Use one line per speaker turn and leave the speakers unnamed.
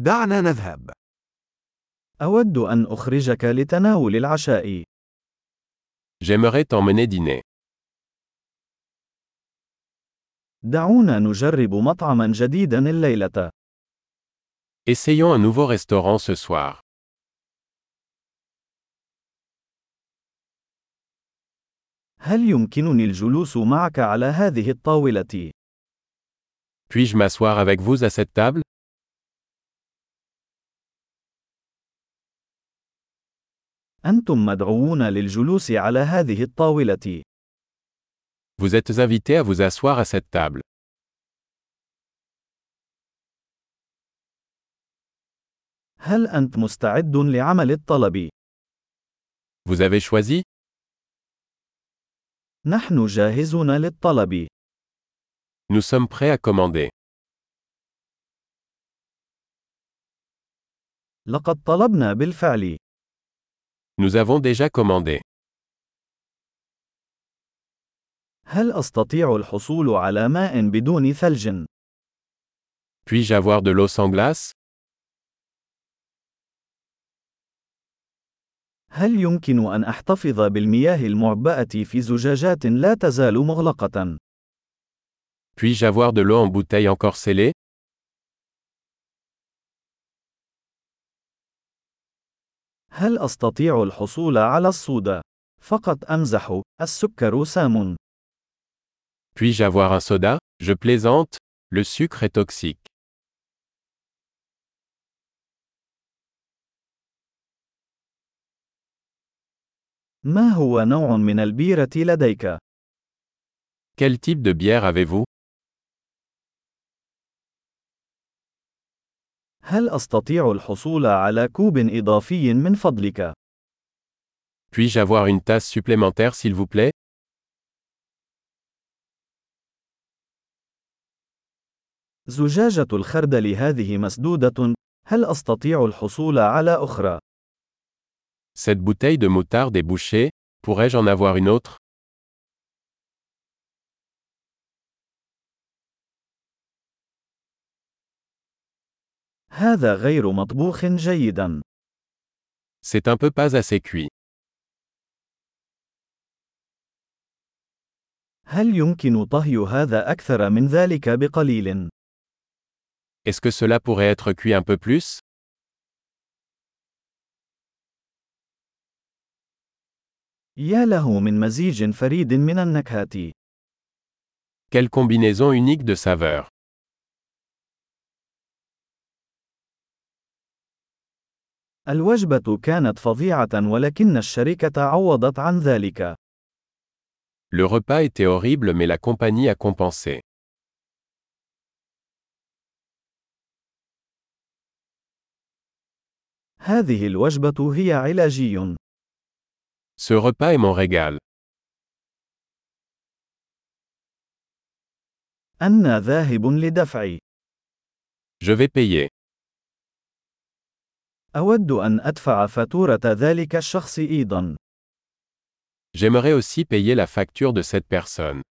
دعنا نذهب.
أود أن أخرجك لتناول العشاء.
J'aimerais t'emmener dîner.
دعونا نجرب مطعما جديدا الليلة.
Essayons un nouveau restaurant ce soir.
هل يمكنني الجلوس معك على هذه الطاولة؟
Puis-je m'asseoir avec vous à cette table
أنتم مدعوون للجلوس على هذه الطاولة.
Vous êtes invités à vous asseoir à cette table.
هل أنت مستعد لعمل الطلب؟
Vous avez choisi
نحن جاهزون للطلب.
Nous sommes prêts à commander.
لقد طلبنا بالفعل.
Nous avons déjà commandé.
هل أستطيع الحصول على ماء بدون ثلج؟
Puis-je avoir de l'eau sans glace
هل يمكن أن أحتفظ بالمياه المعبأة في زجاجات لا تزال مغلقة؟
Puis-je avoir de l'eau en bouteille encore scellée
هل أستطيع الحصول على الصودا؟ فقط أمزح، السكر سام.
Puis-je avoir un soda Je plaisante. Le sucre est toxique.
ما هو نوع من البيرة لديك؟
Quel type de bière avez-vous
هل أستطيع الحصول على كوب إضافي من فضلك؟
Puis-je avoir une tasse supplémentaire s'il vous plaît
زجاجة الخردل هذه مسدودة، هل أستطيع الحصول على أخرى؟
Cette bouteille de moutarde est bouchée. Pourrais-je en avoir une autre
هذا غير مطبوخ جيدا.
C'est un peu pas assez cuit.
هل يمكن طهي هذا أكثر من ذلك بقليل؟
Est-ce que cela pourrait être cuit un peu plus
يا له من مزيج فريد من النكهات.
Quelle combinaison unique de saveurs
الوجبة كانت فظيعة ولكن الشركة عوضت عن ذلك.
Le repas était horrible mais la compagnie a compensé.
هذه الوجبة هي علاجي.
Ce repas est mon régal.
أنا ذاهب لدفع.
Je vais payer.
أود أن أدفع فاتورة ذلك الشخص أيضاً.
J'aimerais aussi payer la facture de cette personne.